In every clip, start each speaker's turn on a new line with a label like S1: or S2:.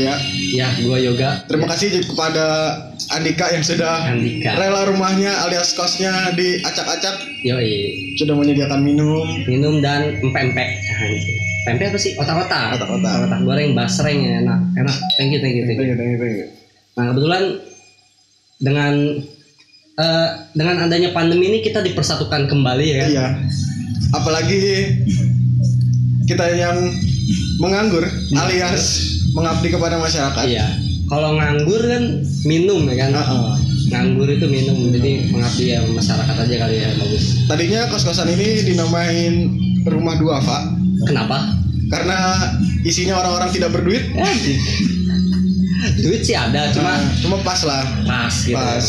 S1: Ya,
S2: Ya, Gua Yoga
S1: Terima kasih kepada Andika yang sudah
S2: Andika.
S1: rela rumahnya alias kosnya di acak-acak
S2: Yoi.
S1: sudah menyediakan minum
S2: Minum dan empempek. Anjing. Pempek apa sih? Otak-otak.
S1: Otak-otak.
S2: Otak goreng basreng ya, enak. Enak. Thank you, thank you, thank you.
S1: Thank you, thank you, thank you.
S2: Nah, kebetulan dengan eh, dengan adanya pandemi ini kita dipersatukan kembali ya. kan?
S1: Iya. Apalagi kita yang menganggur alias mengabdi kepada masyarakat.
S2: Iya. Kalau nganggur kan minum ya kan.
S1: Heeh.
S2: Nganggur itu minum. Jadi mengabdi ya masyarakat aja kali ya bagus.
S1: Tadinya kos-kosan ini dinamain rumah duafa
S2: Kenapa?
S1: karena isinya orang-orang tidak berduit.
S2: Eh, Duit sih ada,
S1: Nah,
S2: cuma
S1: cuma pas lah.
S2: pas gitu.
S1: Pas.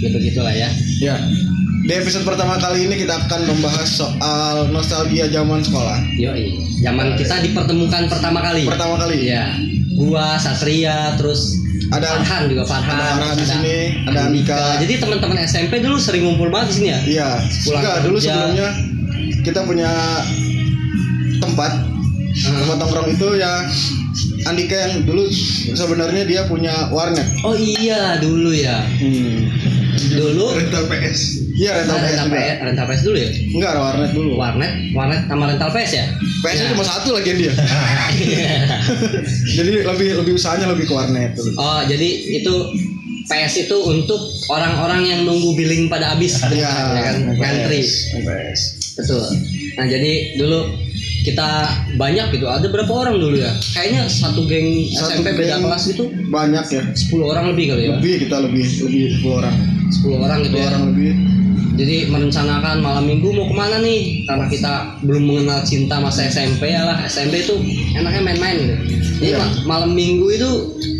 S2: Ya begitulah ya.
S1: Ya. Di episode pertama kali ini kita akan membahas soal nostalgia zaman sekolah.
S2: Yoi, zaman kita dipertemukan pertama kali.
S1: Pertama kali.
S2: Iya. Gua Satria terus
S1: Ada
S2: Farhan juga Farhan.
S1: Farhan di
S2: terus
S1: sini, ada Andika.
S2: Jadi teman-teman SMP dulu sering ngumpul banget di sini ya.
S1: Iya.
S2: Pulang
S1: Enggak, dulu
S2: kerja.
S1: sebelumnya kita punya tempat
S2: Heeh.
S1: Rumah tongkrong itu ya Andika yang dulu sebenarnya dia punya warnet.
S2: Oh iya dulu ya.
S1: Hmm.
S2: Dulu
S3: rental PS
S1: Iya rental
S2: rental,
S1: PS juga.
S2: PS, rental PS dulu ya.
S1: Enggak ada warnet dulu.
S2: Warnet, warnet sama rental PS ya.
S1: PS nya
S2: Nah.
S1: cuma satu lagi dia. Jadi lebih lebih usahanya lebih ke warnet dulu.
S2: oh jadi itu PS itu untuk orang-orang yang nunggu billing pada habis
S1: Iya.
S2: ya kan ngantri.
S1: PS. PS.
S2: Betul. Nah jadi dulu kita banyak gitu. Ada berapa orang dulu ya? Kayaknya satu geng
S1: Satu
S2: SMP beda
S1: geng.
S2: kelas gitu
S1: Banyak ya.
S2: 10 orang lebih kali ya.
S1: Lebih kita lebih lebih dua orang.
S2: 10 orang gitu
S1: Dua
S2: ya.
S1: orang lebih.
S2: Jadi merencanakan malam minggu mau kemana nih? Karena kita belum mengenal cinta masa SMP ya lah. SMP itu enaknya main-main gitu. Jadi
S1: Iya.
S2: ma- malam minggu itu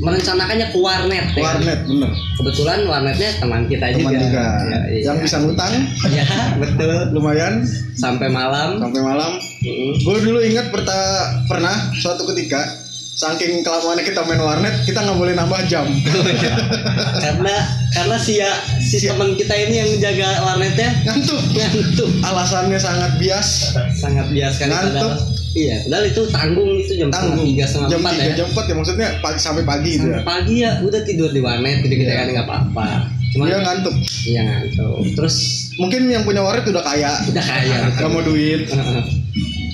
S2: merencanakannya ke warnet. ya.
S1: Warnet bener.
S2: Kebetulan warnetnya teman kita
S1: Teman
S2: juga.
S1: Andika.
S2: Ya, iya.
S1: Yang bisa ngutang
S2: Ya, betul.
S1: lumayan
S2: Sampai malam.
S1: sampai malam.
S2: Mm-mm.
S1: Gue dulu ingat perta- pernah suatu ketika saking kelamaan kita main warnet kita nggak boleh nambah jam.
S2: Oh, iya. karena karena si ya, si teman kita ini yang jaga warnetnya
S1: Ngantuk.
S2: ngantuk
S1: Kan Alasannya sangat bias.
S2: sangat bias sekali
S1: Ngantuk.
S2: padahal. iya padahal itu tanggung itu jam
S1: Tanggung.
S2: tiga setengah
S1: Jam
S2: empat
S1: tiga
S2: ya
S1: jam empat ya maksudnya pagi sampai pagi itu ya.
S2: Sampai pagi ya udah tidur di warnet gede gede
S1: Iya.
S2: kan nggak apa apa cuman
S1: Dia ngantuk.
S2: iya ngantuk terus
S1: kan Mungkin yang punya warnet udah kaya.
S2: udah kaya
S1: Gak mau duit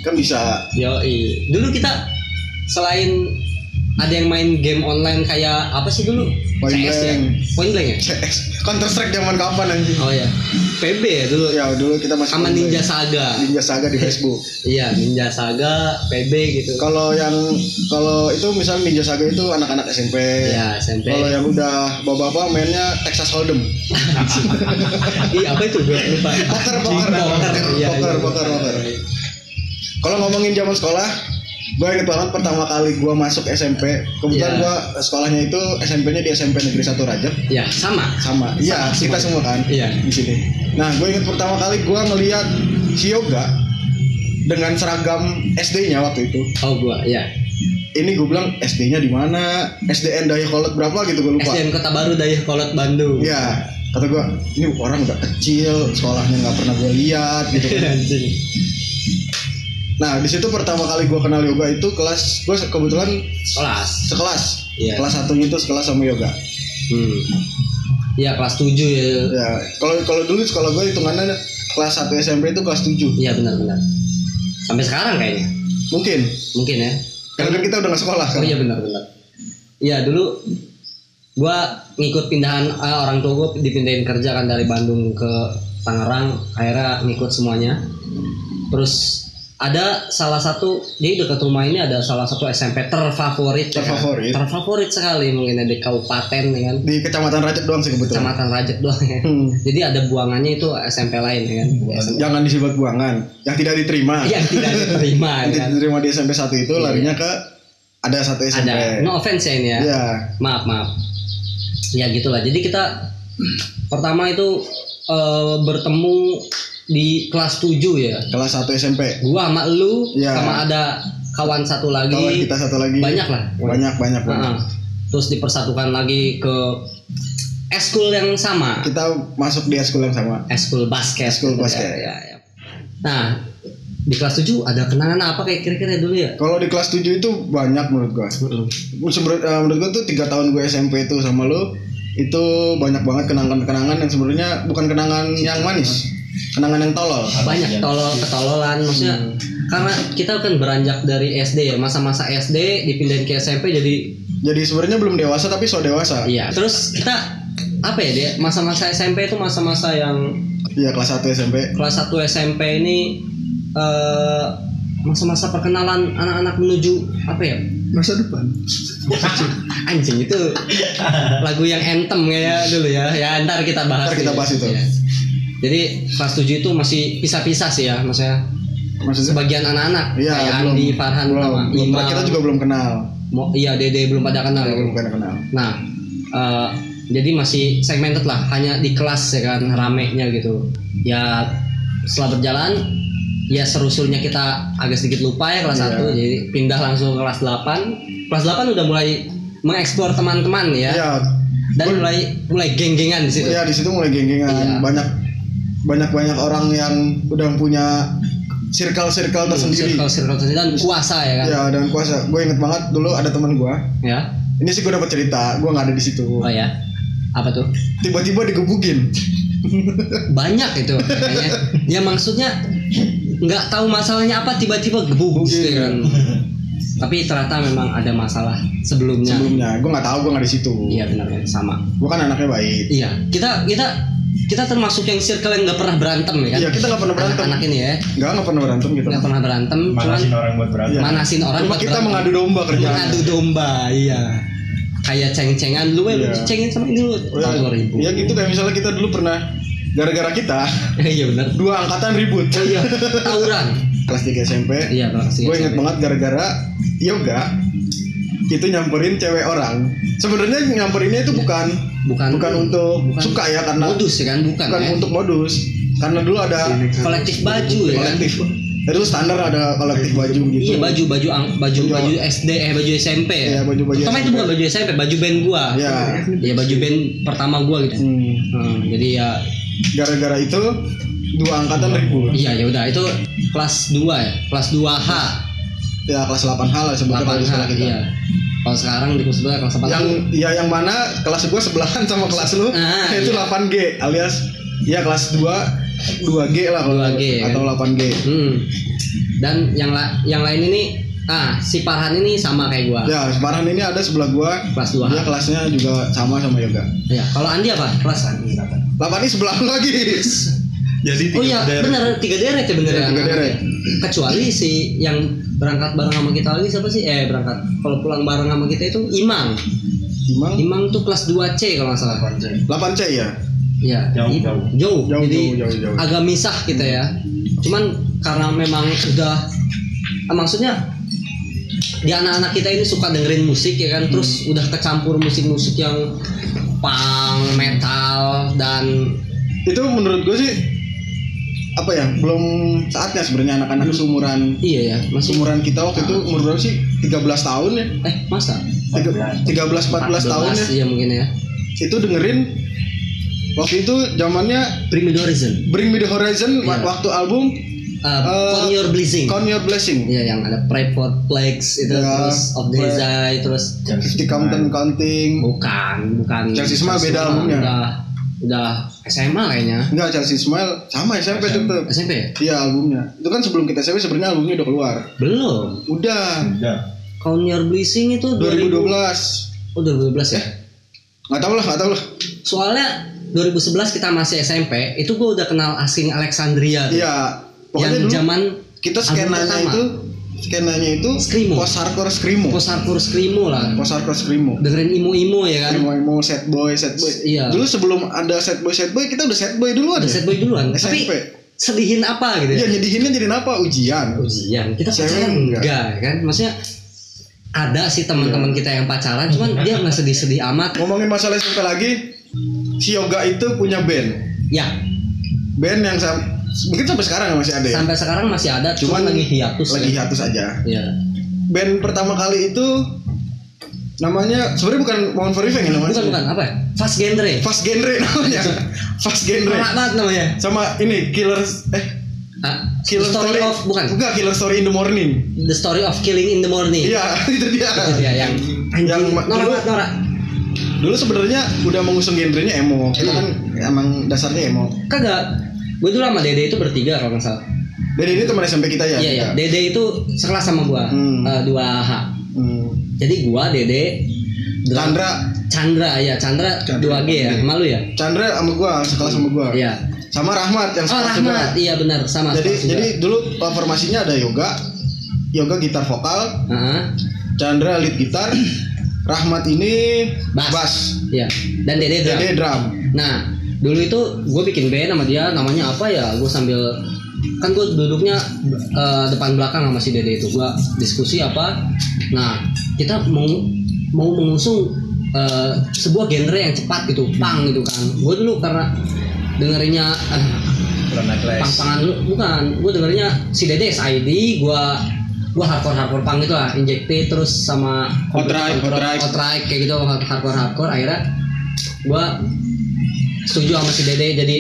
S1: kan bisa.
S2: yoi dulu kita selain ada yang main game online kayak apa sih dulu
S1: Point
S2: CS ya
S1: Blank.
S2: point blank ya
S1: CS Counter Strike zaman kapan anjing?
S2: oh ya PB ya dulu
S1: Ya dulu kita masih
S2: sama Ninja Saga
S1: Ninja Saga di Facebook.
S2: Iya, Ninja Saga, PB gitu.
S1: Kalau yang kalau itu misalnya Ninja Saga itu anak-anak SMP.
S2: Iya, SMP.
S1: Kalau yang udah bapak-bapak mainnya Texas Hold'em.
S2: Iya, apa itu? Gue lupa.
S1: Poker, poker, poker,
S2: Iya,
S1: poker,
S2: iya,
S1: poker, poker. Kalau ngomongin zaman sekolah, gue inget banget pertama kali gue masuk SMP. Kebetulan
S2: Iya.
S1: gue sekolahnya itu SMP-nya di SMP Negeri 1 Rajab
S2: Iya, sama.
S1: sama. Iya,
S2: Sama
S1: kita semua
S2: semua.
S1: kan
S2: Iya.
S1: di sini. Nah, gue inget pertama kali gue ngeliat si Yoga dengan seragam SD-nya waktu itu.
S2: Oh, gua, iya.
S1: Ini gue bilang SD-nya di mana? SDN Dayakolot berapa gitu gue lupa.
S2: SDN Kota Baru Dayakolot Bandung.
S1: Iya, kata gue ini orang udah kecil, sekolahnya nggak pernah gue lihat gitu.
S2: Iya,
S1: kan.
S2: Anjing.
S1: Nah, di situ pertama kali gue kenal yoga itu kelas gue kebetulan
S2: Kelas.
S1: sekelas.
S2: Iya.
S1: Kelas satunya itu sekelas sama yoga.
S2: Hmm. Iya, kelas 7 ya.
S1: Ya, kalau kalau dulu di sekolah gue hitungannya kelas 1 SMP itu kelas 7.
S2: Iya, benar benar. Sampai sekarang kayaknya.
S1: Mungkin
S2: Mungkin ya.
S1: karena kan kita udah nggak sekolah kan.
S2: Oh iya benar benar. Iya, dulu gua ngikut pindahan eh, orang tua gua dipindahin kerja kan dari Bandung ke Tangerang, akhirnya ngikut semuanya. Terus ada salah satu jadi dekat rumah ini ada salah satu SMP terfavorit ya kan?
S1: Terfavorit.
S2: terfavorit sekali mungkin ada di kabupaten ya kan
S1: Di Kecamatan Rajab doang sih kebetulan.
S2: kecamatan Rajek doang ya
S1: Hmm.
S2: jadi ada buangannya itu SMP lain ya kan Di SMP.
S1: Jangan disebut buangan. Yang tidak diterima.
S2: yang Iya, tidak diterima
S1: Yang
S2: ya
S1: tidak
S2: kan
S1: diterima di SMP 1 itu
S2: Iya.
S1: larinya ke ada satu SMP.
S2: ada no offense ya ini ya
S1: Iya.
S2: maaf maaf ya gitulah jadi kita pertama itu eh, bertemu di kelas 7 ya
S1: Kelas 1 SMP.
S2: gua sama lu
S1: Ya.
S2: sama ada kawan satu lagi
S1: Kawan kita satu lagi.
S2: banyak lah
S1: Banyak banyak banyak.
S2: Heeh. terus dipersatukan lagi ke eskul yang sama
S1: Kita masuk di sekolah yang sama.
S2: eskul basket
S1: Eskul
S2: gitu ya.
S1: basket.
S2: Ya, ya. nah di kelas 7 ada kenangan apa kayak kira-kira dulu ya?
S1: Kalau di kelas 7 itu banyak menurut gua. Menurut, eh, menurut gua tuh tiga tahun gue SMP itu sama lu itu banyak banget kenangan-kenangan yang sebenarnya bukan kenangan yang manis, kenangan yang tolol.
S2: Banyak tolol ketololan maksudnya
S1: Hmm.
S2: karena kita kan beranjak dari SD ya masa-masa SD dipindahin ke SMP jadi
S1: Jadi sebenarnya belum dewasa tapi so dewasa.
S2: iya terus kita apa ya dia masa-masa SMP itu masa-masa yang
S1: Iya kelas 1 SMP.
S2: kelas 1 SMP ini eh, masa-masa perkenalan anak-anak menuju apa ya
S3: masa depan
S2: anjing itu lagu yang anthem kayak dulu ya ya ntar kita bahas
S1: Ntar kita
S2: dulu.
S1: bahas itu.
S2: Iya. jadi kelas 7 itu masih pisah-pisah sih ya maksudnya
S1: Maksudnya
S2: sebagian anak-anak
S1: Iya,
S2: kayak
S1: belum-
S2: Andi Farhan
S1: belum,
S2: sama
S1: belum,
S2: Imam
S1: kita juga belum kenal.
S2: Mo- iya Dede belum pada kenal ya.
S1: Belum pernah kenal.
S2: nah eh, jadi masih segmented lah hanya di kelas ya kan ramenya gitu ya setelah berjalan ya serusulnya kita agak sedikit lupa ya kelas
S1: Iya.
S2: 1 jadi pindah langsung ke kelas 8 kelas 8 udah mulai mengeksplor teman-teman ya
S1: Iya.
S2: dan
S1: Gua-
S2: mulai mulai geng-gengan di situ.
S1: Iya di situ mulai geng-gengan
S2: Iya.
S1: banyak banyak banyak orang yang udah punya circle-circle tersendiri.
S2: Hmm, Circle circle tersendiri
S1: Iya.
S2: dan puasa ya kan.
S1: Ya dan kuasa. Gue inget banget dulu ada teman gue.
S2: Ya.
S1: Ini sih gue dapat cerita. Gue nggak ada di situ.
S2: Oh ya. Apa tuh?
S1: Tiba-tiba digebukin.
S2: Banyak itu kayaknya. ya maksudnya nggak tahu masalahnya apa tiba-tiba gebuk gitu
S1: Iya.
S2: kan. Tapi ternyata memang ada masalah sebelumnya.
S1: Sebelumnya gue nggak tahu gue nggak di situ.
S2: Iya benar ya, sama.
S1: Gue kan anaknya baik.
S2: Iya, kita kita kita termasuk yang circle yang nggak pernah berantem ya kan.
S1: Iya kita nggak pernah berantem.
S2: Anak, ini ya,
S1: Nggak nggak pernah berantem gitu.
S2: nggak pernah berantem, cuman
S4: Manasin orang ya. buat berantem.
S1: Iya.
S2: manasin orang
S1: Cuma
S2: buat
S1: kita
S2: berantem.
S1: mengadu domba kerjaan.
S2: Mengadu domba, iya. Kayak ceng-cengan lu, eh, lu
S1: Iya.
S2: cengin sama ini lu.
S1: Ya,
S2: Tahun 2000.
S1: ya gitu kayak misalnya kita dulu pernah gara-gara kita
S2: Iya benar.
S1: dua angkatan ribut.
S2: Iya. Tawuran.
S1: Kelas 3 SMP.
S2: Iya, makasih.
S1: gue inget banget gara-gara yoga itu nyamperin cewek orang sebenarnya nyamperinnya itu bukan
S2: Iya. Bukan
S1: bukan untuk
S2: bukan
S1: suka ya karena
S2: modus ya kan, bukan,
S1: bukan
S2: ya.
S1: untuk modus karena dulu ada
S2: kolektif baju ya kan.
S1: kolektif itu standar ada kolektif baju gitu
S2: Iya baju baju ang, baju
S1: Baju-
S2: baju SD eh baju SMP ya.
S1: Iya, baju-baju
S2: Pertama itu
S1: SMP.
S2: bukan baju SMP, baju band gua.
S1: Iya.
S2: Iya, baju band pertama gua gitu.
S1: Hmm.
S2: Hmm, jadi ya
S1: gara-gara itu dua angkatan ribut
S2: iya ya udah itu kelas 2 ya, kelas 2H.
S1: ya kelas 8 hal lah sebutnya kalau
S2: 8H
S1: di sekolah kita
S2: iya. Kalau sekarang di kelas sebelah kelas 8
S1: yang ya yang mana kelas gue sebelahan sama kelas lu
S2: Ah,
S1: itu
S2: iya.
S1: 8G alias ya kelas 2 2G lah kalau
S2: 2G, kan?
S1: atau 8G
S2: Hmm. Dan yang la yang lain ini ah si Farhan ini sama kayak gua.
S1: Ya, Semarang ini ada sebelah gua.
S2: Kelas 2.
S1: Dia kelasnya juga sama sama yoga.
S2: Ya, kalau Andi apa? Kelas
S1: Lapan ini sebelah lu lagi.
S3: jadi
S2: Oh
S3: tiga
S2: iya,
S3: daerah.
S2: benar tiga deret ya benar
S1: Iya,
S2: ya.
S1: tiga deret.
S2: Kecuali si yang berangkat bareng sama kita lagi siapa sih? Eh, berangkat. Kalau pulang bareng sama kita itu Imang.
S1: Imang
S2: Imang tuh kelas 2C kalau nggak salah.
S1: 8 C ya.
S2: Iya.
S4: Jauh,
S2: I-
S4: jauh.
S2: Jauh.
S1: Jauh,
S2: Jadi
S1: jauh, jauh, jauh.
S2: agak misah kita ya. Cuman karena memang udah ah, maksudnya di anak-anak kita ini suka dengerin musik ya kan, terus
S1: Hmm.
S2: udah kecampur musik-musik yang punk, metal dan
S1: Itu menurut gua sih apa ya? Belum saatnya sebenarnya anak-anak seumuran
S2: iya ya, masih
S1: seumuran kita waktu itu umur berapa sih? 13 tahun ya.
S2: eh masa
S1: Tiga- 13 14 tahun ya.
S2: Iya mungkin ya.
S1: Itu dengerin waktu itu zamannya
S2: Bring me the horizon.
S1: Bring Me The Horizon wa-
S2: Iya.
S1: waktu album
S2: Uh, Con your blessing.
S1: Count Your Blessing.
S2: Iya yang ada pray for plagues itu
S1: Ya,
S2: terus of the
S1: Pray.
S2: Desire, terus
S1: Fifty Count and Counting.
S2: bukan bukan.
S1: Chelsea Smile beda
S2: Smile,
S1: albumnya.
S2: Udah udah SMA kayaknya.
S1: Enggak, Chelsea Smile sama SMP tetep.
S2: SMP ya?
S1: Iya albumnya. Itu kan sebelum kita SMP sebenarnya albumnya udah keluar.
S2: Belum.
S1: Udah.
S4: Udah.
S2: Count your blessing itu
S1: 2012.
S2: 2000. Oh 2012 ya.
S1: Nggak tahu lah, nggak tahu lah.
S2: Soalnya 2011 kita masih SMP, itu gue udah kenal asing Alexandria tuh.
S1: Iya. Pokoknya
S2: yang
S1: dulu
S2: zaman
S1: kita
S2: album
S1: skenanya
S2: pertama.
S1: itu skenanya itu
S2: Screamo.
S1: post hardcore screamo.
S2: post hardcore screamo lah.
S1: Post hardcore screamo.
S2: Dengerin imo-imo ya kan.
S1: Screamo emo sad boy sad boy.
S2: Iya.
S1: Dulu sebelum ada sad boy sad boy kita udah sad boy dulu ada.
S2: Ada set boy duluan.
S1: SMP.
S2: Tapi sedihin apa gitu ya?
S1: Iya nyedihinnya jadi apa? Ujian.
S2: ujian kita
S1: Cewek
S2: pacaran
S1: enggak. Iya.
S2: enggak. kan maksudnya ada sih teman-teman kita yang pacaran cuman
S1: Hmm.
S2: dia nggak sedih-sedih amat
S1: Ngomongin masalah SMP lagi, si Yoga itu punya band.
S2: ya
S1: Band yang sam- mungkin sampai sekarang masih ada ya.
S2: sampai sekarang masih ada cuman, lagi hiatus
S1: Lagi
S2: ya.
S1: hiatus aja.
S2: Iya.
S1: band pertama kali itu namanya sebenarnya bukan Mount Foriveng ya namanya
S2: bukan bukan apa ya fast genre
S1: Fast Genre namanya Fast Genre
S2: Parah banget namanya
S1: sama ini Killers eh
S2: Ah, the
S1: Killer story,
S2: story, of bukan
S1: Bukan Killer Story in the Morning.
S2: the story of killing in the morning
S1: Iya, itu dia.
S2: Itu dia yang Nah, anjing.
S1: Yang ma-
S2: norak
S1: dulu-
S2: banget, norak
S1: Dulu sebenarnya udah mengusung genrenya emo.
S2: Iya.
S1: Kita kan emang dasarnya emo.
S2: kagak gue dulu sama dede itu bertiga kalau nggak salah
S1: Dan ini teman SMP kita ya.
S2: iya iya dede itu sekelas sama gue
S1: Hmm.
S2: dua h
S1: Hmm.
S2: jadi gue dede Dra-
S1: Chandra,
S2: Chandra ya Chandra
S3: Chandra.
S2: dua G ya malu ya
S1: Chandra sama gua, sekelas sama gua.
S2: iya
S1: Sama Rahmat yang
S2: oh
S1: sekelas juga.
S2: Rahmat iya benar sama
S1: Jadi
S2: sekelas juga.
S1: jadi dulu uh, formasinya ada yoga, yoga gitar vokal,
S2: Heeh.
S1: Chandra lead gitar, Rahmat ini
S2: Bass.
S1: bass,
S2: iya dan dede drum
S1: Dede drum.
S2: Nah, dulu itu gue bikin band sama dia, namanya apa ya? Gue sambil kan gue duduknya eh, depan belakang sama si Dede itu. Gue diskusi apa? Nah, kita mau mau mengusung eh, sebuah genre yang cepat gitu, pang gitu kan. Gue dulu karena dengerinnya eh,
S3: Pernah kelas.
S2: pang-pangan dulu- bukan, gue dengerinnya si Dede SID, gue gue hardcore hardcore pang gitu lah, injected terus sama
S1: Hot Drive, Hot Drive.
S2: Outright kayak gitu hardcore hardcore akhirnya gua setuju sama si Dede jadi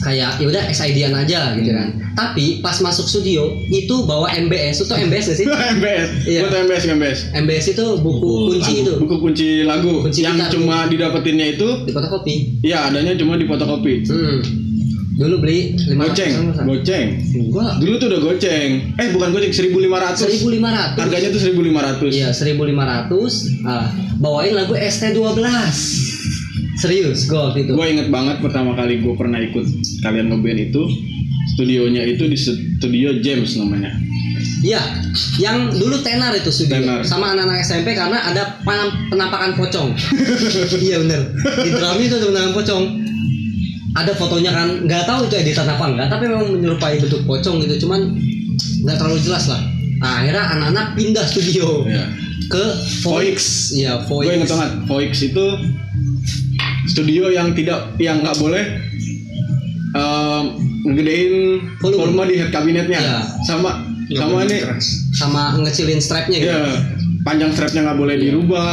S2: kayak ya udah SID-an aja gitu kan. Tapi pas masuk studio itu bawa MBS itu MBS gak sih?
S1: MBS,
S2: Iya.
S1: buat MBS MBS.
S2: MBS itu buku kunci itu
S1: Buku kunci lagu
S2: Kunci
S1: yang
S2: gitar.
S1: cuma didapetinnya itu
S2: di fotokopi.
S1: ya adanya cuma di fotokopi.
S2: Hmm. Dulu beli lima
S1: Goceng, goceng.
S2: Gua
S1: Dulu tuh udah goceng. Eh bukan goceng 1500.
S2: 1500.
S1: Harganya tuh 1500.
S2: Iya, 1500 ah, bawain lagu ST12. Serius, gua waktu itu.
S1: Gue inget banget pertama kali gue pernah ikut kalian ngeband itu studionya itu di studio James namanya.
S2: Iya, yang dulu tenar itu studio
S1: Tenar.
S2: sama anak-anak SMP karena ada pan- penampakan pocong. iya bener. Di drama itu ada penampakan pocong. Ada fotonya kan, nggak tahu itu editan apa enggak, tapi memang menyerupai bentuk pocong gitu, cuman nggak terlalu jelas lah. Nah, akhirnya anak-anak pindah studio
S1: Iya.
S2: ke Voix. Iya, Voix.
S1: Gue inget banget, Voix itu studio yang tidak yang nggak boleh em, ngegedein
S2: Volume.
S1: volume, di head kabinetnya
S2: Iya.
S1: sama sama ini
S2: Sama ngecilin strapnya gitu.
S1: ya panjang strapnya nggak
S2: Iya.
S1: boleh dirubah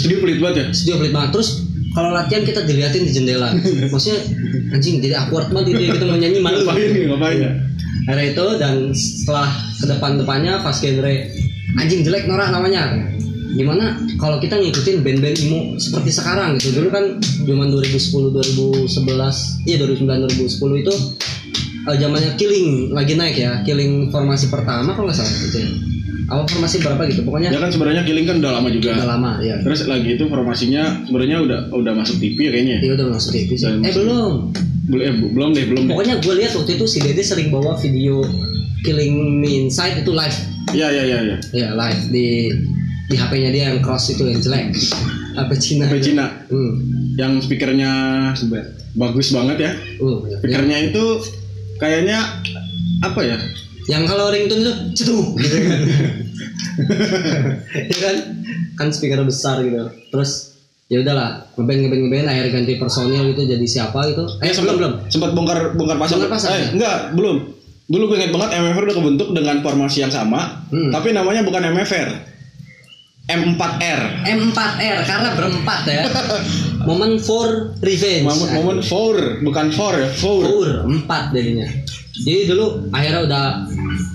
S1: studio pelit banget ya
S2: studio pelit banget terus kalau latihan kita diliatin di jendela maksudnya anjing jadi awkward banget gitu ya, kita mau nyanyi malu
S1: ngapain nih ngapain
S2: Iya.
S1: ya
S2: Akhirnya itu dan setelah ke depan-depannya pas genre anjing jelek norak namanya. Gimana kalau kita ngikutin band-band emo seperti sekarang gitu. Dulu kan zaman 2010 2011, iya 2009 2010 itu eh, zamannya Killing lagi naik ya. Killing formasi pertama kalau nggak salah gitu ya. Apa formasi berapa gitu. Pokoknya
S1: ya kan sebenarnya killing kan udah lama juga
S2: udah lama ya.
S1: terus lagi itu formasinya sebenarnya udah udah masuk TV ya kayaknya
S2: Iya udah masuk TV sih.
S1: Dan
S2: Eh
S1: masuk-
S2: belum.
S1: belum eh, belum deh belum deh
S2: Pokoknya gue lihat waktu itu si Dede sering bawa video Killing Me Inside itu live
S1: ya ya ya ya
S2: ya live di di HP-nya dia yang cross itu yang jelek HP Cina
S1: Sampai Cina
S2: hmm.
S1: yang speakernya bagus banget ya
S2: Uh, ya.
S1: speakernya itu kayaknya apa ya
S2: yang kalau ringtone itu cetuh gitu kan ya kan kan speaker besar gitu terus ya udahlah ngeband ngeband ngeband akhirnya ganti personil gitu jadi siapa gitu eh
S1: sempat
S2: sebelum belum
S1: sempat bongkar bongkar pasar.
S2: Bongkar pasar,
S1: Eh,
S2: ya?
S1: enggak, belum. Dulu gue inget banget MFR udah kebentuk dengan formasi yang sama,
S2: Hmm.
S1: tapi namanya bukan MFR. M4R.
S2: M4R karena berempat ya momen for revenge
S1: Momen, momen for, bukan for ya, for.
S2: Ur, empat jadinya. Jadi dulu akhirnya udah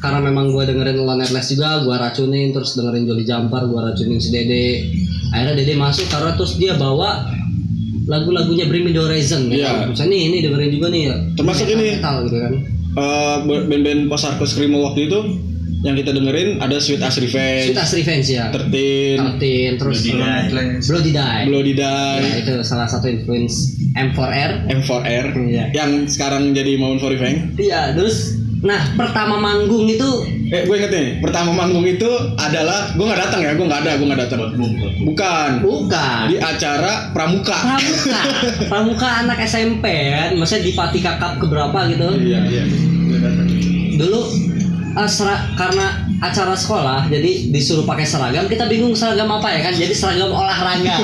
S2: karena memang gue dengerin Lon Atlas juga, gue racunin terus dengerin Jolly Jumper, gue racunin si Dede. Akhirnya Dede masuk karena terus dia bawa lagu-lagunya Bring Me The Horizon. ya
S1: Iya.
S2: kan? Terus ini ini dengerin juga nih. ya.
S1: Termasuk ini.
S2: Metal gitu kan.
S1: Eh, band-band pasarku Screamo waktu itu yang kita dengerin ada Sweet As Revenge,
S2: Kita Revenge ya.
S1: Eh, Tertin,
S2: Tartin terus
S3: Bloody Night.
S2: Bloody Die.
S1: Bloody
S2: Ya,
S1: Die,
S2: itu salah satu influence M4R.
S1: M4R,
S2: Iya.
S1: yang sekarang jadi Momen for Revenge.
S2: Iya, terus nah pertama manggung itu
S1: Eh, gue inget nih, pertama manggung itu adalah gue nggak datang ya, gue nggak ada, gue nggak datang. Bukan.
S2: bukan
S1: di acara pramuka.
S2: pramuka pramuka anak SMP kan maksudnya di Patika Cup keberapa gitu
S1: Iya, iya.
S2: dulu eh, sera- karena acara sekolah jadi disuruh pakai seragam kita bingung seragam apa ya kan jadi seragam olahraga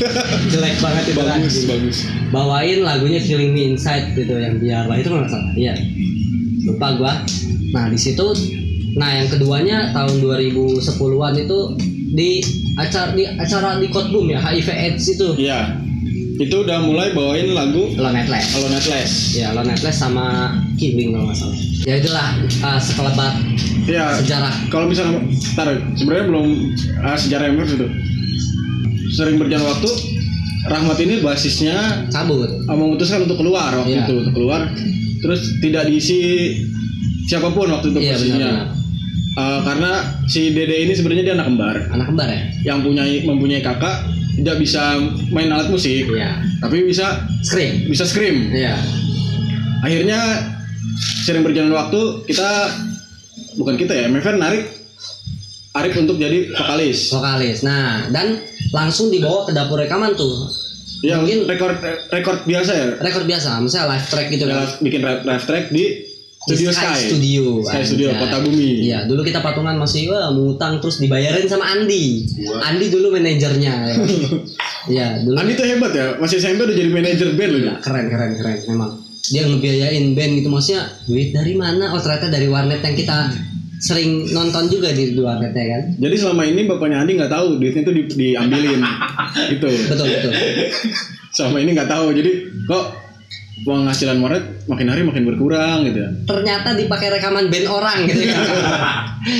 S2: jelek banget itu kan
S1: Bagus, bagus.
S2: bawain lagunya Killing Me Inside gitu yang biarlah itu kalau nggak salah iya lupa gua nah di situ nah yang keduanya tahun 2010-an itu di acara di acara di Kotbum ya HIV AIDS itu
S1: Iya. itu udah mulai bawain lagu
S2: Lo Netless.
S1: Halo Netless.
S2: Ya, Lo Netless sama Killing kalau nggak salah. Ya itulah eh, sekelebat
S1: Iya.
S2: sejarah.
S1: Kalau misalnya, ntar sebenarnya belum ah, sejarah MF itu. Sering berjalan waktu, Rahmat ini basisnya
S2: Cabut.
S1: ah, memutuskan untuk keluar waktu
S2: Iya.
S1: itu untuk keluar. Terus tidak diisi siapapun waktu itu
S2: Iya
S1: posisinya.
S2: benar-benar.
S1: Ah, karena si Dede ini sebenarnya dia anak kembar
S2: Anak kembar ya?
S1: yang punya mempunyai kakak tidak bisa main alat musik
S2: Iya.
S1: tapi bisa
S2: Scream.
S1: bisa scream
S2: Iya.
S1: akhirnya sering berjalan waktu kita bukan kita ya MFN narik Arif untuk jadi vokalis
S2: Vokalis. Nah, dan langsung dibawa ke dapur rekaman tuh.
S1: ya
S2: Mungkin-
S1: rekor rekor biasa ya
S2: Rekor biasa, misalnya live track gitu kan.
S1: Dalam bikin rap, rap track di
S2: Di
S1: Studio Sky,
S2: Studio.
S1: Sky Studio
S2: Anjay.
S1: Kota Bumi
S2: Iya, dulu kita patungan masih wah ngutang terus dibayarin sama Andi. Andi dulu manajernya. ya. Iya, dulu
S1: Andi tuh hebat ya masih SMP udah jadi manajer band loh
S2: Gila, keren keren keren memang. Dia ngebiayain band gitu maksudnya duit dari mana? Oh ternyata dari warnet yang kita sering nonton juga di di warnet ya kan.
S1: jadi selama ini bapaknya Andi nggak tahu duitnya tuh di, diambilin gitu
S2: Betul betul.
S1: selama ini nggak tahu jadi kok penghasilan Maret makin hari makin berkurang gitu ya
S2: Ternyata dipakai rekaman band orang gitu ya.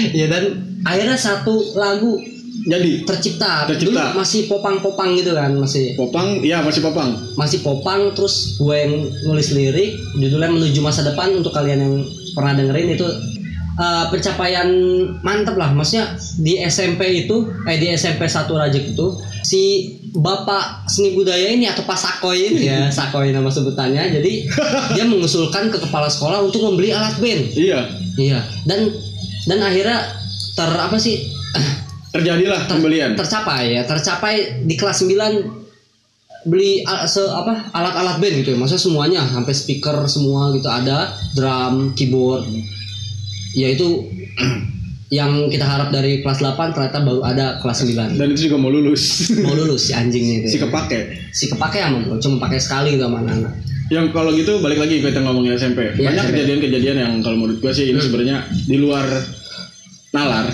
S2: ya dan akhirnya satu lagu
S1: jadi
S2: tercipta.
S1: Tercipta.
S2: Dulu masih popang-popang gitu kan, masih
S1: Popang ya masih Popang
S2: masih popang terus gue yang nulis lirik judulnya menuju masa depan untuk kalian yang pernah dengerin itu eh, pencapaian mantep lah maksudnya di SMP itu eh di SMP 1 Rajek itu si bapak seni budaya ini atau Pak Sakoy ini ya Sakoy nama sebutannya jadi dia mengusulkan ke kepala sekolah untuk membeli alat band
S1: iya
S2: iya dan dan akhirnya ter apa sih
S1: terjadilah pembelian
S2: tercapai ya tercapai di kelas 9 beli al- se apa alat-alat band gitu ya maksudnya semuanya sampai speaker semua gitu ada drum keyboard ya itu yang kita harap dari kelas 8 ternyata baru ada kelas 9
S1: dan itu juga mau lulus
S2: mau lulus si anjingnya
S1: si
S2: itu ya.
S1: kepake
S2: si kepake sama gua, cuma pakai sekali gitu sama anak-anak
S1: yang kalau gitu balik lagi kita ngomongin SMP
S2: Iya,
S1: banyak
S2: SMP.
S1: kejadian-kejadian yang kalau menurut gue sih ini sebenarnya di luar nalar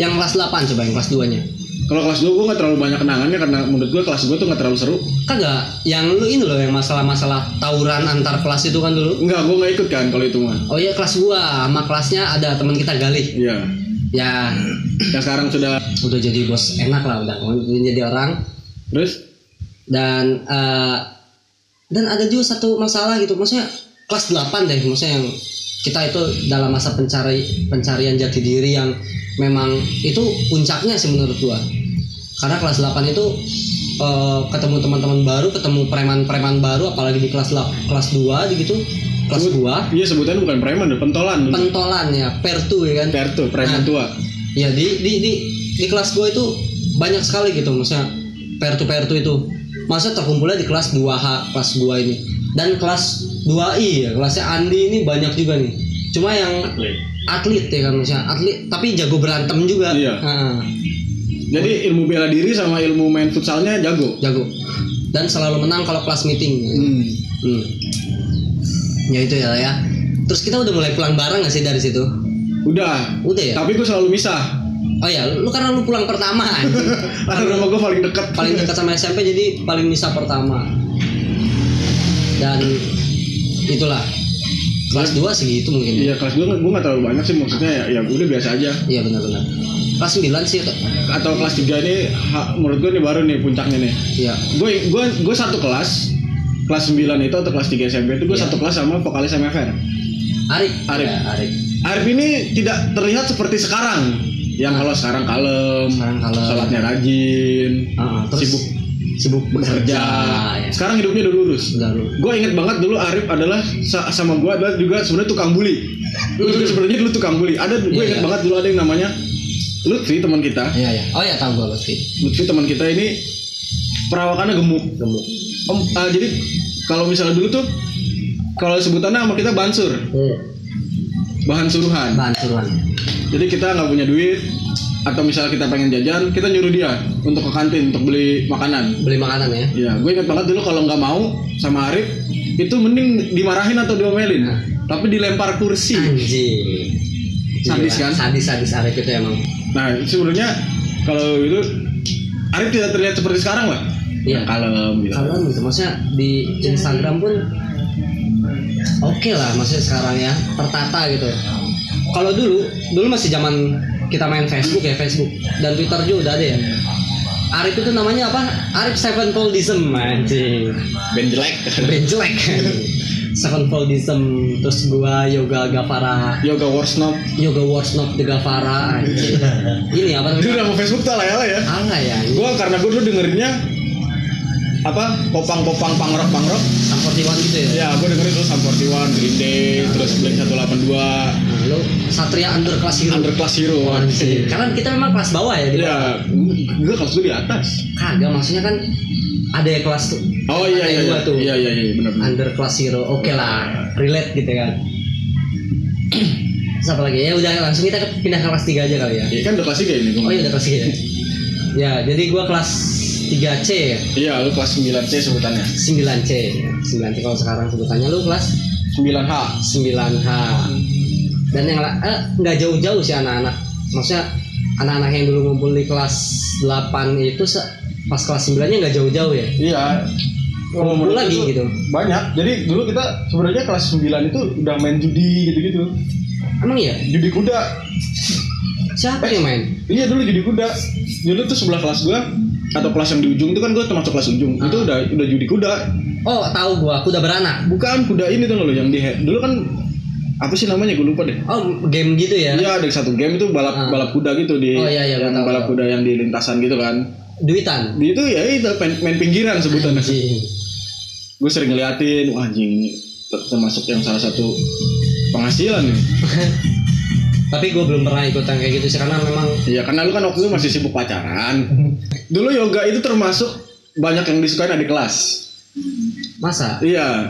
S2: yang kelas 8 coba yang kelas 2 nya
S1: kalau kelas 2 gue gak terlalu banyak kenangannya karena menurut gue kelas 2 tuh gak terlalu seru
S2: kagak yang lu ini loh yang masalah-masalah tawuran antar kelas itu kan dulu
S1: enggak gue gak ikut kan kalau itu mah
S2: oh iya kelas gua sama kelasnya ada teman kita Galih
S1: iya
S2: ya
S1: yang sekarang sudah
S2: udah jadi bos enak lah udah udah jadi orang
S1: terus
S2: dan eh, dan ada juga satu masalah gitu maksudnya kelas 8 deh maksudnya yang kita itu dalam masa pencari pencarian jati diri yang memang itu puncaknya sih menurut gua karena kelas 8 itu eh, ketemu teman-teman baru ketemu preman-preman baru apalagi di kelas lap- kelas 2 gitu kelas
S1: Sebut-
S2: 2
S1: iya sebutan bukan preman udah pentolan
S2: pentolan ya pertu ya kan
S1: Pertu, preman
S2: Nah.
S1: tua
S2: ya di di di di kelas gue itu banyak sekali gitu maksudnya pair to pair to itu masa terkumpulnya di kelas 2H kelas 2 ini dan kelas 2I ya kelasnya Andi ini banyak juga nih cuma yang atlet ya kan maksudnya atlet tapi jago berantem juga
S1: Iya.
S2: Nah,
S1: Jadi ilmu bela diri sama ilmu main futsalnya jago.
S2: jago dan selalu menang kalau kelas meeting
S1: Hmm.
S2: Hmm. ya itu ya ya terus kita udah mulai pulang bareng gak sih dari situ
S1: Udah.
S2: udah ya
S1: Tapi gue selalu misah.
S2: oh ya lu karena lu pulang pertama anjing.
S1: Karena rumah gue paling dekat.
S2: paling dekat sama SMP jadi paling bisa pertama dan itulah kelas 2 segitu mungkin ya.
S1: Iya kelas gue gue gak terlalu banyak sih maksudnya ya, ya udah biasa aja.
S2: iya benar-benar kelas 9 sih itu
S1: Atau kelas 3 ini ha- menurut gue nih baru nih puncaknya nih.
S2: iya
S1: Gue gue gue satu kelas kelas 9 itu atau kelas 3 SMP itu gue
S2: Iya.
S1: satu kelas sama vokalis MFR.
S2: Arif
S1: Arif.
S2: Ya, Arif
S1: Arif ini tidak terlihat seperti sekarang. Yang kalau sekarang kalem,
S2: Sekarang kalem.
S1: sholatnya rajin,
S2: Ah, terus
S1: sibuk
S2: sibuk
S1: kerja.
S2: bekerja ya.
S1: Sekarang hidupnya udah lurus.
S2: Udah lu.
S1: gue inget banget dulu Arif adalah sa- sama gue adalah juga sebenarnya tukang bully lu juga sebenarnya dulu tukang bully ada gue
S2: Iya,
S1: inget
S2: iya.
S1: banget dulu ada yang namanya Lutfi teman kita
S2: iya ya oh ya tahu gua Lutfi
S1: Lutfi teman kita ini perawakannya gemuk
S2: gemuk
S1: Om, ah, jadi kalau misalnya dulu tuh kalau sebutannya sama kita bansur bahan suruhan
S2: Hmm. bahan suruhan
S1: jadi kita nggak punya duit atau misalnya kita pengen jajan kita nyuruh dia untuk ke kantin untuk beli makanan
S2: beli makanan ya
S1: Ya, gue ingat banget dulu kalau nggak mau sama Arif itu mending dimarahin atau diomelin, tapi dilempar kursi.
S2: anjing Iya,
S1: Sadis
S2: Gila,
S1: kan?
S2: sadis-sadis Arif itu emang
S1: gitu, Nah, itu sebenarnya kalau itu Arif tidak terlihat seperti sekarang lah.
S2: Iya.
S1: kalem gitu.
S2: Kalian gitu maksudnya di Instagram pun oke lah maksudnya sekarang ya tertata gitu kalau dulu dulu masih zaman kita main Facebook ya Facebook dan Twitter juga udah ada ya Arif itu namanya apa? Arif Sevenfoldism anjing
S4: band jelek
S2: Brand jelek Sevenfoldism Terus gua Yoga Gavara
S1: Yoga Warsnop.
S2: Yoga Warsnop The Gavara anjing Ini apa
S1: Itu
S2: namanya?
S1: nama Facebook tuh ala-ala ya.
S2: Ala ya ini.
S1: Gue karena gue dulu dengerinnya apa popang-popang pangrok pangrok
S2: Sampor Tiwan gitu ya
S1: ya gue dengerin tuh Sam 41 Green Day terus Blink 182
S2: Nah, lu Satria Underclass gitu. Hero
S1: Underclass Hero
S2: Anjing. Karena kita memang kelas bawah ya. di bawah.
S1: ya gue kelas gue di atas
S2: Kagak maksudnya kan ada ya kelas tuh.
S1: oh iya
S2: Ada
S1: iya
S2: yang
S1: iya
S2: dua tuh.
S1: iya iya iya benar benar
S2: Under kelas hero. Oke lah, relate gitu kan. Terus apa lagi? Ya udah langsung kita ke- pindah ke kelas 3 aja kali ya.
S1: Iya, kan udah kelas tiga ini gua.
S2: Oh iya udah kelas 3 ya. Ya, jadi gua kelas 3C ya.
S1: iya lu kelas 9C sebutannya
S2: 9C. 9C kalau sekarang sebutannya lu kelas
S1: 9H
S2: 9H. Dan yang la- eh, nggak jauh-jauh sih anak-anak. Maksudnya anak-anak yang dulu ngumpul di kelas 8 itu se- pas kelas 9-nya nggak jauh-jauh ya.
S1: Iya.
S2: Kumpul
S1: Menurut
S2: lagi
S1: itu
S2: gitu.
S1: Banyak. Jadi dulu kita sebenarnya kelas 9 itu udah main judi gitu-gitu.
S2: Emang iya?
S1: Judi kuda.
S2: Siapa yang main?
S1: Iya dulu judi kuda. Dulu tuh sebelah kelas gua atau kelas yang di ujung itu kan gua termasuk kelas ujung. Itu
S2: Ah.
S1: udah udah judi kuda.
S2: Oh, tahu gua, kuda beranak.
S1: Bukan kuda ini tuh loh yang di dulu kan apa sih namanya gue lupa deh.
S2: Oh, game gitu ya.
S1: Iya ada satu game itu balap
S2: Ah.
S1: balap kuda gitu di
S2: Oh, iya, iya, gua
S1: yang
S2: tahu,
S1: balap
S2: tahu.
S1: kuda yang di lintasan gitu kan.
S2: Duitan. Iya.
S1: Di itu ya itu main, main pinggiran sebutannya.
S2: Anjing.
S1: gue sering ngeliatin wah anjing ini ter- termasuk yang salah satu penghasilan nih
S2: Tapi gua belum pernah ikutan kayak gitu sih karena memang
S1: iya karena lu kan waktu itu masih sibuk pacaran dulu yoga itu termasuk banyak yang disukain adik kelas
S2: masa.
S1: iya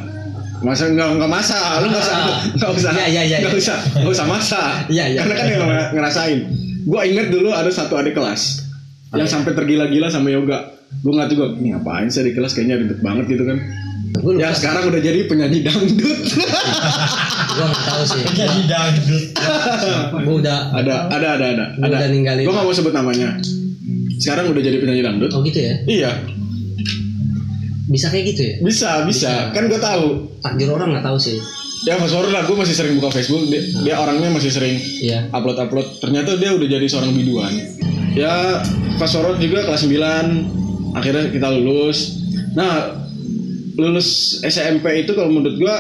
S1: masa nggak nggak masa lu nggak usah nggak usah
S2: Iya, iya, iya,
S1: nggak
S2: iya.
S1: usah nggak usah masa
S2: Iya, iya.
S1: karena kan yang ngera- ngerasain gue inget dulu ada satu adik kelas yang sampai tergila-gila sama yoga gue nggak tahu gue ngapain sih adik kelas kayaknya ribet banget gitu kan
S2: Gua lupa.
S1: ya sekarang udah jadi penyanyi dangdut
S2: Gua enggak tahu sih.
S4: jadi dangdut
S2: Gua udah
S1: Iya. ada ada ada ada
S2: Gua
S1: ada
S2: udah ninggalin.
S1: gue gak mau sebut namanya sekarang udah jadi penyanyi dangdut
S2: Oh gitu ya.
S1: iya
S2: Bisa kayak gitu ya.
S1: bisa bisa, kan gue tahu
S2: Takdir orang nggak tahu sih.
S1: ya mas Warren lah gue masih sering buka Facebook dia, dia orangnya masih sering
S2: Iya.
S1: upload upload ternyata dia udah jadi seorang biduan ya Mas Warren juga kelas 9 akhirnya kita lulus nah lulus SMP itu kalau menurut gue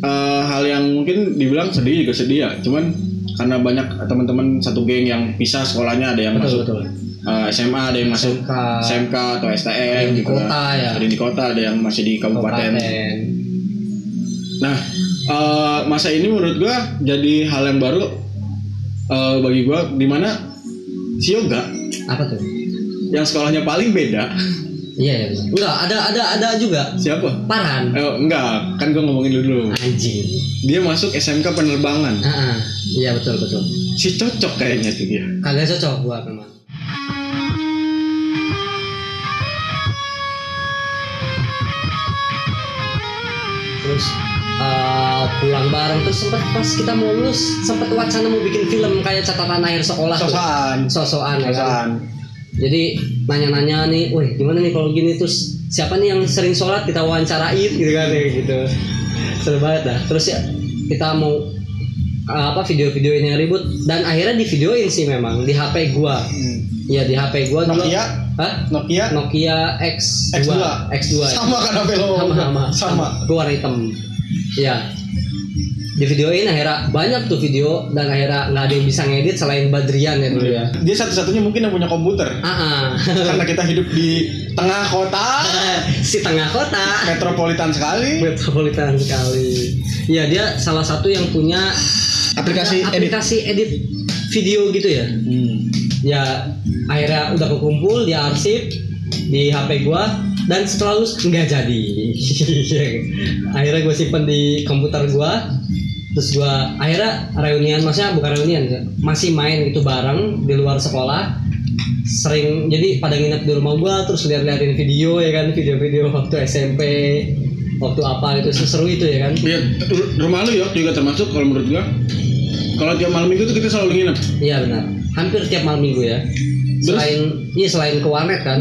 S1: eh, hal yang mungkin dibilang sedih juga sedih ya cuman karena banyak teman-teman satu geng yang pisah sekolahnya ada yang masuk
S2: Betul betul.
S1: Eh, SMA ada yang masuk
S2: SMK.
S1: SMK atau STM
S2: eh, Ada yang di
S1: gitu kan.
S2: kota ya.
S1: ada yang di kota ada yang masih di kabupaten,
S2: Kabupaten.
S1: nah eh, masa ini menurut gua jadi hal yang baru eh, bagi gua dimana si Yoga
S2: Apa tuh?
S1: yang sekolahnya paling beda
S2: Iya ya. benar. Enggak, ada ada ada juga.
S1: siapa
S2: Paran.
S1: Eh, enggak, kan gua ngomongin dulu.
S2: Anjing.
S1: Dia masuk SMK penerbangan.
S2: Heeh. Iya betul betul.
S1: Si cocok kayaknya tuh dia.
S2: Kagak cocok gua memang. Terus eh, pulang bareng terus sempat pas kita mau lulus sempat wacana mau bikin film kayak catatan akhir sekolah tuh.
S1: Sosokan.
S2: sosokan ya kan?
S1: Sosokan.
S2: jadi nanya-nanya nih, wah gimana nih kalau gini terus siapa nih yang sering sholat kita wawancarain gitu kan ya gitu seru banget dah terus ya kita mau uh, apa video-videoin yang ribut dan akhirnya di videoin sih memang di HP gua
S1: Hmm.
S2: ya di HP gua dulu
S1: Nokia,
S2: Hah?
S1: Nokia
S2: Nokia X2
S1: X2.
S2: X2 ya
S1: Sama kan apa lo?
S2: sama sama
S1: Sama.
S2: keluar hitam ya di videoin akhirnya banyak tuh video dan akhirnya nggak ada yang bisa ngedit selain Badrian ya dulu ya
S1: Dia satu-satunya mungkin yang punya komputer.
S2: ah ah.
S1: karena kita hidup di tengah kota
S2: si tengah kota
S1: metropolitan sekali
S2: metropolitan sekali ya dia salah satu yang punya
S1: aplikasi edit
S2: aplikasi edit video gitu ya
S1: Hmm.
S2: ya akhirnya udah kekumpul di arsip di HP gua dan setelah lulus nggak jadi akhirnya gue simpen di komputer gua terus gua akhirnya reunian maksudnya bukan reunian masih main gitu bareng di luar sekolah sering jadi pada nginep di rumah gua terus lihat-liatin video ya kan video-video waktu SMP waktu apa gitu seru itu ya kan
S1: ya, ru- rumah lu ya juga termasuk kalau menurut gua kalau tiap malam minggu tuh kita selalu nginep
S2: iya benar hampir tiap malam minggu ya selain iya selain ke warnet kan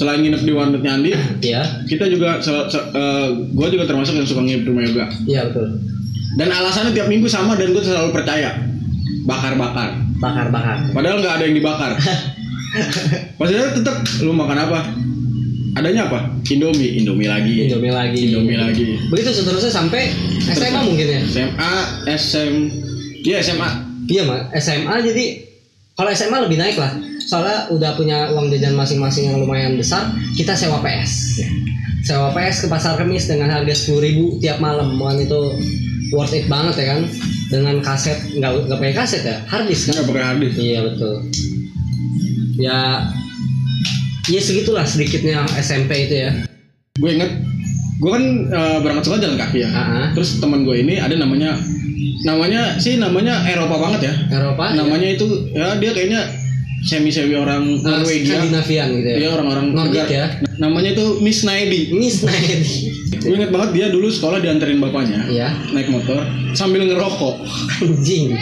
S1: selain nginep di warnetnya Andi
S2: Iya.
S1: kita juga gue juga termasuk yang suka nginep di rumah yoga
S2: Iya betul.
S1: dan alasannya tiap minggu sama dan gue selalu percaya bakar-bakar
S2: Bakar-bakar.
S1: padahal nggak ada yang dibakar maksudnya tetap lu makan apa adanya apa Indomie Indomie lagi
S2: Indomie lagi.
S1: Iya. Indomie lagi
S2: Begitu seterusnya sampai SMA mungkin ya.
S1: SMA SM ya SMA
S2: Iya mah SMA jadi kalau SMA lebih naik lah. Soalnya udah punya uang jajan masing-masing yang lumayan besar, kita sewa PS.
S1: Iya.
S2: Sewa PS ke pasar Kemis dengan harga sepuluh ribu tiap malam. Mohon itu worth it banget ya kan? Dengan kaset nggak nggak pakai kaset ya, harddisk kan?
S1: nggak pakai harddisk
S2: Iya betul. Ya, ya segitulah sedikitnya SMP itu ya.
S1: gue inget gue kan eh, berangkat sekolah jalan kaki ya
S2: Ah, ah.
S1: terus teman gue ini ada namanya namanya sih namanya Eropa banget ya
S2: Eropa,
S1: namanya itu ya dia kayaknya semi semi orang
S2: ya,
S1: Norwegia Iya,
S2: Skandinavian gitu ya.
S1: dia orang-orang
S2: Nordic
S1: negara-
S2: ya.
S1: namanya itu Miss Naidi
S2: Miss Naidi.
S1: gue inget banget dia dulu sekolah dianterin bapaknya
S2: Iya,
S1: naik motor sambil ngerokok
S2: anjing.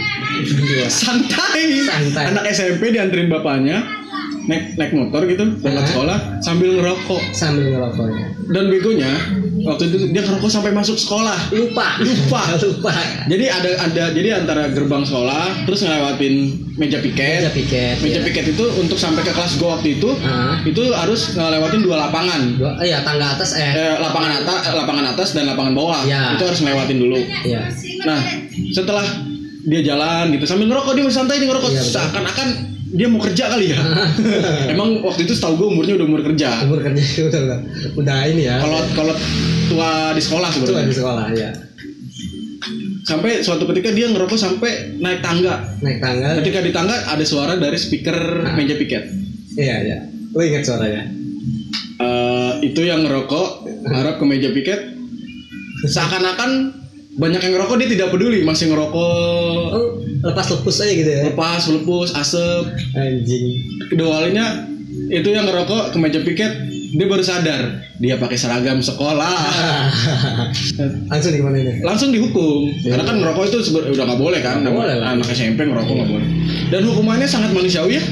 S2: Iya.
S1: santai.
S2: Santai.
S1: anak SMP dianterin bapaknya naik naik motor gitu berangkat
S2: Ah.
S1: sekolah sambil ngerokok
S2: sambil ngerokoknya
S1: dan begonya waktu itu dia ngerokok sampai masuk sekolah
S2: lupa
S1: Lupa.
S2: lupa
S1: Jadi ada ada jadi antara gerbang sekolah terus ngelewatin meja
S2: meja
S1: piket. Meja piket,
S2: piket ya.
S1: itu untuk sampai ke kelas gua waktu itu
S2: Ah.
S1: itu harus ngelewatin dua lapangan.
S2: Dua- eh, ya tangga atas eh
S1: Eh, lapangan atas, eh, lapangan atas dan lapangan bawah.
S2: Ya.
S1: Itu harus ngelewatin dulu.
S2: ya
S1: Nah, setelah dia jalan gitu sambil ngerokok dia masih santai dia ngerokok
S2: Iya, betul.
S1: seakan-akan dia mau kerja kali ya. Emang waktu itu setahu gua umurnya udah umur kerja.
S2: umur kerja udah udah, udah ini ya
S1: Kalau kalau tua di sekolah
S2: itu di
S1: sebenarnya.
S2: sekolah ya
S1: Sampai suatu ketika dia ngerokok sampai naik tangga.
S2: naik tangga
S1: Ketika di tangga ada suara dari speaker meja piket.
S2: iya iya lo ingat suaranya
S1: Eh, itu yang ngerokok harap ke meja piket. Seakan-akan banyak yang ngerokok dia tidak peduli masih ngerokok
S2: oh lepas lepus aja gitu ya
S1: lepas melepus asap.
S2: anjing
S1: Kedualinya itu yang ngerokok ke meja piket dia baru sadar dia pakai seragam sekolah
S2: langsung ya? di mana ini
S1: langsung dihukum karena kan ngerokok itu sebe- udah nggak boleh kan
S2: Nggak boleh lah.
S1: anak SMP ngerokok nggak boleh dan hukumannya sangat manusiawi ya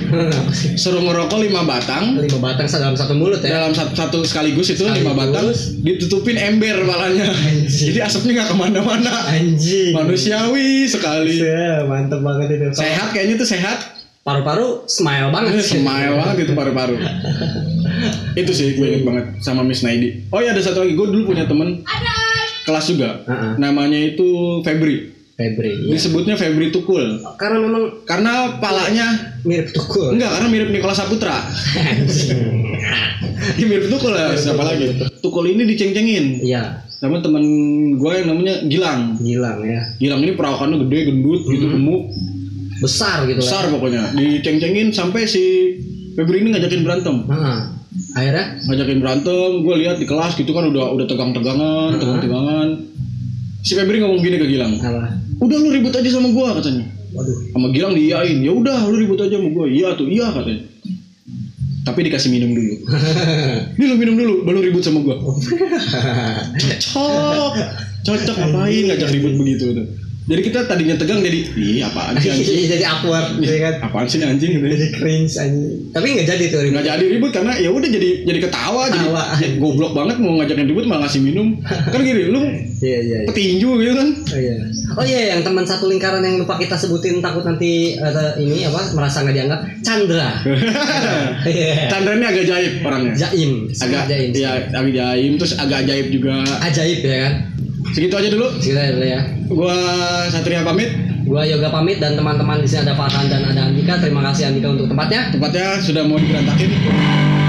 S1: suruh ngerokok lima batang
S2: lima batang dalam satu mulut ya
S1: dalam satu, satu sekaligus itu lima
S2: Sekaligus.
S1: batang ditutupin ember malahnya
S2: Anjing.
S1: jadi asapnya nggak kemana-mana
S2: anjing
S1: manusiawi sekali
S2: Ya, mantep banget itu
S1: sehat kayaknya tuh sehat
S2: paru-paru smile banget
S1: semai banget itu paru-paru itu sih gue inget banget sama Miss Naidi oh iya ada satu lagi gue dulu punya temen kelas juga
S2: Heeh. Iya.
S1: namanya itu Febri
S2: Febri
S1: disebutnya Febri Tukul
S2: karena memang
S1: karena palanya
S2: mirip tukul
S1: enggak karena mirip Nikola Saputra ya mirip Tukul lah siapa lagi Tukul ini diceng-cengin
S2: Iya,
S1: sama temen gue yang namanya Gilang
S2: Gilang ya.
S1: Gilang ini perawakannya gede, gendut, gitu, gemuk,
S2: Besar gitu lah.
S1: besar pokoknya. Diceng-cengin sampai si Febri ini ngajakin berantem.
S2: Heeh. akhirnya
S1: Ngajakin berantem, gue lihat di kelas gitu kan udah udah tegang-tegangan,
S2: Hmm.
S1: tegang-tegangan. Si Febri ngomong gini ke Gilang,
S2: apa?
S1: udah lu ribut aja sama gue katanya.
S2: Waduh.
S1: Sama Gilang diiyain, ya udah lu ribut aja sama gue, iya tuh, iya katanya. Tapi dikasih minum dulu. Ini lu minum dulu, baru ribut sama gue. Cocok, cocok ngapain ngajak ribut begitu tuh. Jadi kita tadinya tegang jadi, iya apaan sih anjing?
S2: jadi awkward ya kan.
S1: apaan sih ini anjing gitu ya.
S2: Jadi cringe anjing. Tapi nggak jadi tuh ribut.
S1: nggak jadi ribut karena ya udah jadi jadi ketawa, jadi-
S2: Ketawa.
S1: jadi goblok banget mau ngajakin ribut malah ngasih minum kan gini lu
S2: Iya iya. iya.
S1: petinju gitu kan
S2: Oh iya. Oh iya yang teman satu lingkaran yang lupa kita sebutin takut nanti ada ini apa merasa nggak dianggap Chandra. Iya.
S1: Chandra ini agak jaib orangnya
S2: Jaim.
S1: agak
S2: Sangat jaim.
S1: ya agak jaim terus agak ajaib juga
S2: Ajaib ya kan.
S1: segitu aja dulu
S2: Kita ya.
S1: gua Satria pamit
S2: Gua Yoga pamit dan teman-teman di sini ada Farhan dan ada Andika. Terima kasih Andika untuk tempatnya.
S1: tempatnya sudah mau diberantakin